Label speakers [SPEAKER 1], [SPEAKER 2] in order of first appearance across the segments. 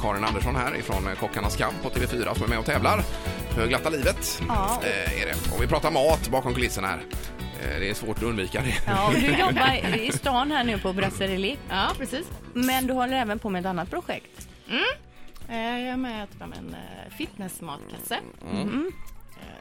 [SPEAKER 1] Karin Andersson här ifrån Kockarnas kamp på TV4 som är med och tävlar. För glatta livet
[SPEAKER 2] Ja.
[SPEAKER 1] eh, är det. Och vi pratar mat bakom kulisserna här. Eh, Det är svårt att undvika det.
[SPEAKER 2] Ja, och du jobbar i stan här nu på Brasserie
[SPEAKER 3] Ja, precis.
[SPEAKER 2] men du håller även på med ett annat projekt.
[SPEAKER 3] Eh, Jag är med att ta fram en eh, fitnessmatkasse eh,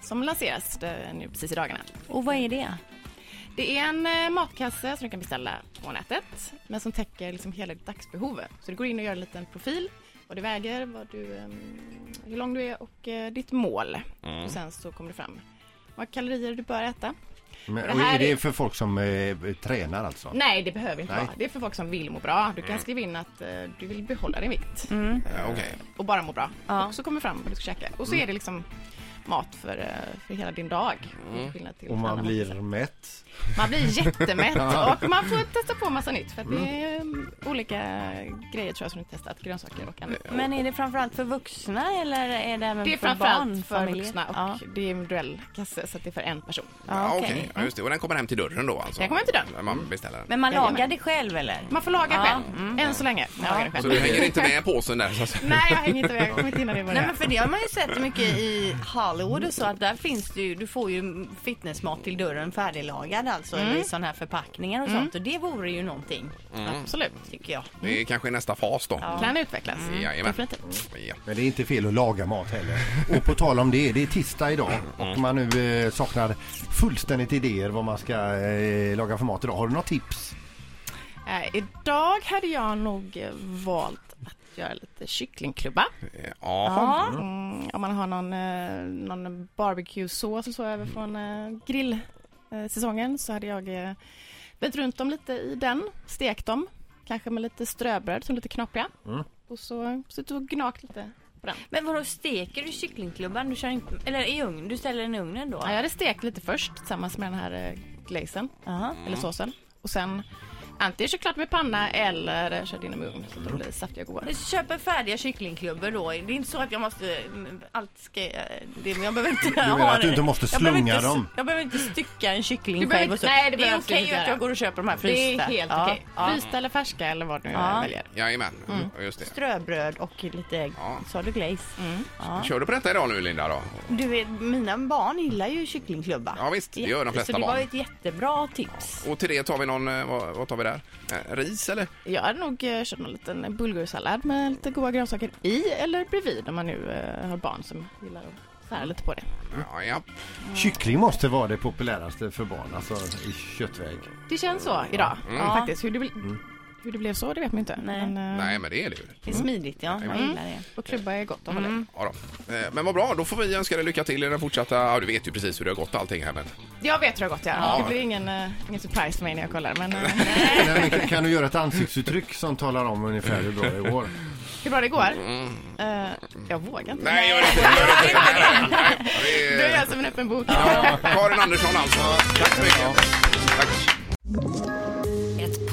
[SPEAKER 3] som lanseras eh, nu precis i dagarna.
[SPEAKER 2] Och vad är det?
[SPEAKER 3] Det är en eh, matkasse som du kan beställa på nätet men som täcker liksom hela ditt dagsbehov. Så du går in och gör en liten profil, vad du väger, vad du, eh, hur lång du är och eh, ditt mål. Och sen så kommer det fram vad kalorier du bör äta.
[SPEAKER 4] Men,
[SPEAKER 3] Det
[SPEAKER 4] och
[SPEAKER 3] här
[SPEAKER 4] är det
[SPEAKER 3] är-
[SPEAKER 4] för folk som eh, tränar alltså?
[SPEAKER 3] Nej, det behöver inte
[SPEAKER 4] Nej.
[SPEAKER 3] vara. Det är för folk som vill må bra. Du kan skriva in att eh, du vill behålla din vikt.
[SPEAKER 2] Mm.
[SPEAKER 1] Ja, Okej.
[SPEAKER 3] och bara må bra.
[SPEAKER 2] Ja.
[SPEAKER 3] Och så kommer fram vad du ska käka. Och så är det liksom mat för, eh, för hela din dag. Till skillnad till
[SPEAKER 4] Och man
[SPEAKER 3] annan
[SPEAKER 4] blir
[SPEAKER 3] mat.
[SPEAKER 4] mätt?
[SPEAKER 3] man blir jättemätt och man får testa på massa nytt för att
[SPEAKER 4] Mm.
[SPEAKER 3] det är eh, olika grejer tror jag som du testat, grönsaker och annat.
[SPEAKER 2] Men är det framförallt för vuxna eller är det även
[SPEAKER 3] Det är
[SPEAKER 2] för barn?
[SPEAKER 3] framförallt för
[SPEAKER 2] familjer?
[SPEAKER 3] vuxna och
[SPEAKER 2] Ja.
[SPEAKER 3] det är individuell kasse så att det är för en person.
[SPEAKER 2] Ja, okej.
[SPEAKER 1] Ja, just det. Och den kommer hem till dörren då alltså?
[SPEAKER 3] Den kommer hem till dörren.
[SPEAKER 1] När Man beställer den.
[SPEAKER 2] Men man lagar
[SPEAKER 3] Jajamän.
[SPEAKER 2] det själv eller?
[SPEAKER 3] Man får laga
[SPEAKER 2] Ja,
[SPEAKER 3] själv, än så länge. Man lagar det
[SPEAKER 1] Så
[SPEAKER 3] själv.
[SPEAKER 1] du hänger inte med påsen där? Så att säga.
[SPEAKER 3] Nej, jag hänger inte med. Jag kommer inte hinna det i
[SPEAKER 5] Nej
[SPEAKER 3] början.
[SPEAKER 5] men för det har man ju sett mycket i Hollywood och så att där finns det ju, du får ju fitnessmat till dörren färdiglagad alltså
[SPEAKER 2] Mm.
[SPEAKER 5] eller i sådana här förpackningar och sånt och det vore ju någonting
[SPEAKER 3] Absolut.
[SPEAKER 5] tycker jag.
[SPEAKER 1] Det är kanske är nästa fas då. Ja.
[SPEAKER 3] Mm. Kan utvecklas.
[SPEAKER 1] Jajamän.
[SPEAKER 3] Definitivt.
[SPEAKER 1] Ja.
[SPEAKER 4] Men det är inte fel att laga mat heller. Och på tal om det, det är tisdag idag och man nu eh, saknar fullständigt idéer vad man ska eh, laga för mat idag. Har du några tips?
[SPEAKER 3] Eh, idag hade jag nog eh, valt att göra lite kycklingklubba.
[SPEAKER 1] Ja.
[SPEAKER 3] Mm, om man har någon, eh, någon barbecue-sås eller så över från eh, grillsäsongen så hade jag eh, vänt runt dem lite i den, stekt dem, kanske med lite ströbröd som är lite knapriga. Och så suttit och gnagt lite på den.
[SPEAKER 2] Men vadå, steker du kycklingklubban? Du kör inte, eller i ugn, du ställer den i ugnen då?
[SPEAKER 3] Ja, jag hade stekt lite först tillsammans med den här eh, glazen,
[SPEAKER 2] Jaha.
[SPEAKER 3] eller såsen. Och sen antingen kört klart med panna eller kört in dem i ugn så att de blir saftiga och goda.
[SPEAKER 5] Jag köper färdiga kycklingklubbor då. Det är inte så att jag måste, mm, allt ska, eh, det, jag behöver inte
[SPEAKER 4] menar
[SPEAKER 5] ha
[SPEAKER 4] att du
[SPEAKER 5] det.
[SPEAKER 4] inte måste
[SPEAKER 5] jag behöver
[SPEAKER 4] slunga
[SPEAKER 5] inte, s-
[SPEAKER 4] dem?
[SPEAKER 5] Jag behöver inte stycka en kyckling
[SPEAKER 3] Du behöver
[SPEAKER 5] själv och
[SPEAKER 3] inte-
[SPEAKER 5] så.
[SPEAKER 3] nej, det
[SPEAKER 5] är
[SPEAKER 3] behöver
[SPEAKER 5] okej
[SPEAKER 3] absolut
[SPEAKER 5] att
[SPEAKER 3] göra.
[SPEAKER 5] jag går och köper de här frysta.
[SPEAKER 3] Det är helt
[SPEAKER 5] Ja,
[SPEAKER 3] okej.
[SPEAKER 5] ja.
[SPEAKER 3] Frysta eller färska eller vad du
[SPEAKER 5] Ja.
[SPEAKER 3] väljer.
[SPEAKER 1] Jajamän. Just det.
[SPEAKER 5] Ströbröd och lite,
[SPEAKER 1] Ja.
[SPEAKER 5] sa du glaze?
[SPEAKER 1] Kör du på detta idag nu Linda då?
[SPEAKER 5] Du vet, mina barn gillar ju kycklingklubba.
[SPEAKER 1] Ja visst, det gör de flesta
[SPEAKER 5] Så det var
[SPEAKER 1] barn.
[SPEAKER 5] ett jättebra tips.
[SPEAKER 1] Och till det tar vi någon, eh, vad, vad tar vi där? Eh, Ris eller?
[SPEAKER 3] Jag hade nog eh, kört någon liten bulgursallad med lite goda grönsaker i eller bredvid om man nu eh, har barn som gillar att sära lite på det.
[SPEAKER 1] Ja, ja.
[SPEAKER 4] Kyckling måste vara det populäraste för barn, alltså i köttväg.
[SPEAKER 3] Det känns så
[SPEAKER 1] Mm.
[SPEAKER 3] idag ja. faktiskt. Hur det, bli- hur det blev så det vet man ju inte.
[SPEAKER 2] Nej.
[SPEAKER 3] Men, eh,
[SPEAKER 1] Nej men det är det ju.
[SPEAKER 5] Det är smidigt, ja.
[SPEAKER 4] Mm.
[SPEAKER 5] Jag gillar det.
[SPEAKER 3] Och klubba är gott att hålla i.
[SPEAKER 1] Ja, då. Eh, Men vad bra, då får vi önska dig lycka till i den fortsatta... Ja, du vet ju precis hur det har gått allting här men...
[SPEAKER 3] Jag vet hur det har gått ja.
[SPEAKER 1] Ja.
[SPEAKER 3] Det blir ingen, eh, ingen surprise för mig när jag kollar. Men eh,
[SPEAKER 4] Nej, men kan- kan du göra ett ansiktsuttryck som talar om ungefär hur bra det går?
[SPEAKER 3] hur bra det går? Eh, jag vågar inte.
[SPEAKER 1] Mm. Nej, gör det inte! Gör det inte. Nej, nej, nej.
[SPEAKER 3] Du
[SPEAKER 1] Det
[SPEAKER 3] är
[SPEAKER 1] är-
[SPEAKER 3] jag som en öppen bok.
[SPEAKER 1] Ja, Karin Andersson alltså. Tack så mycket. Tack.
[SPEAKER 6] Ett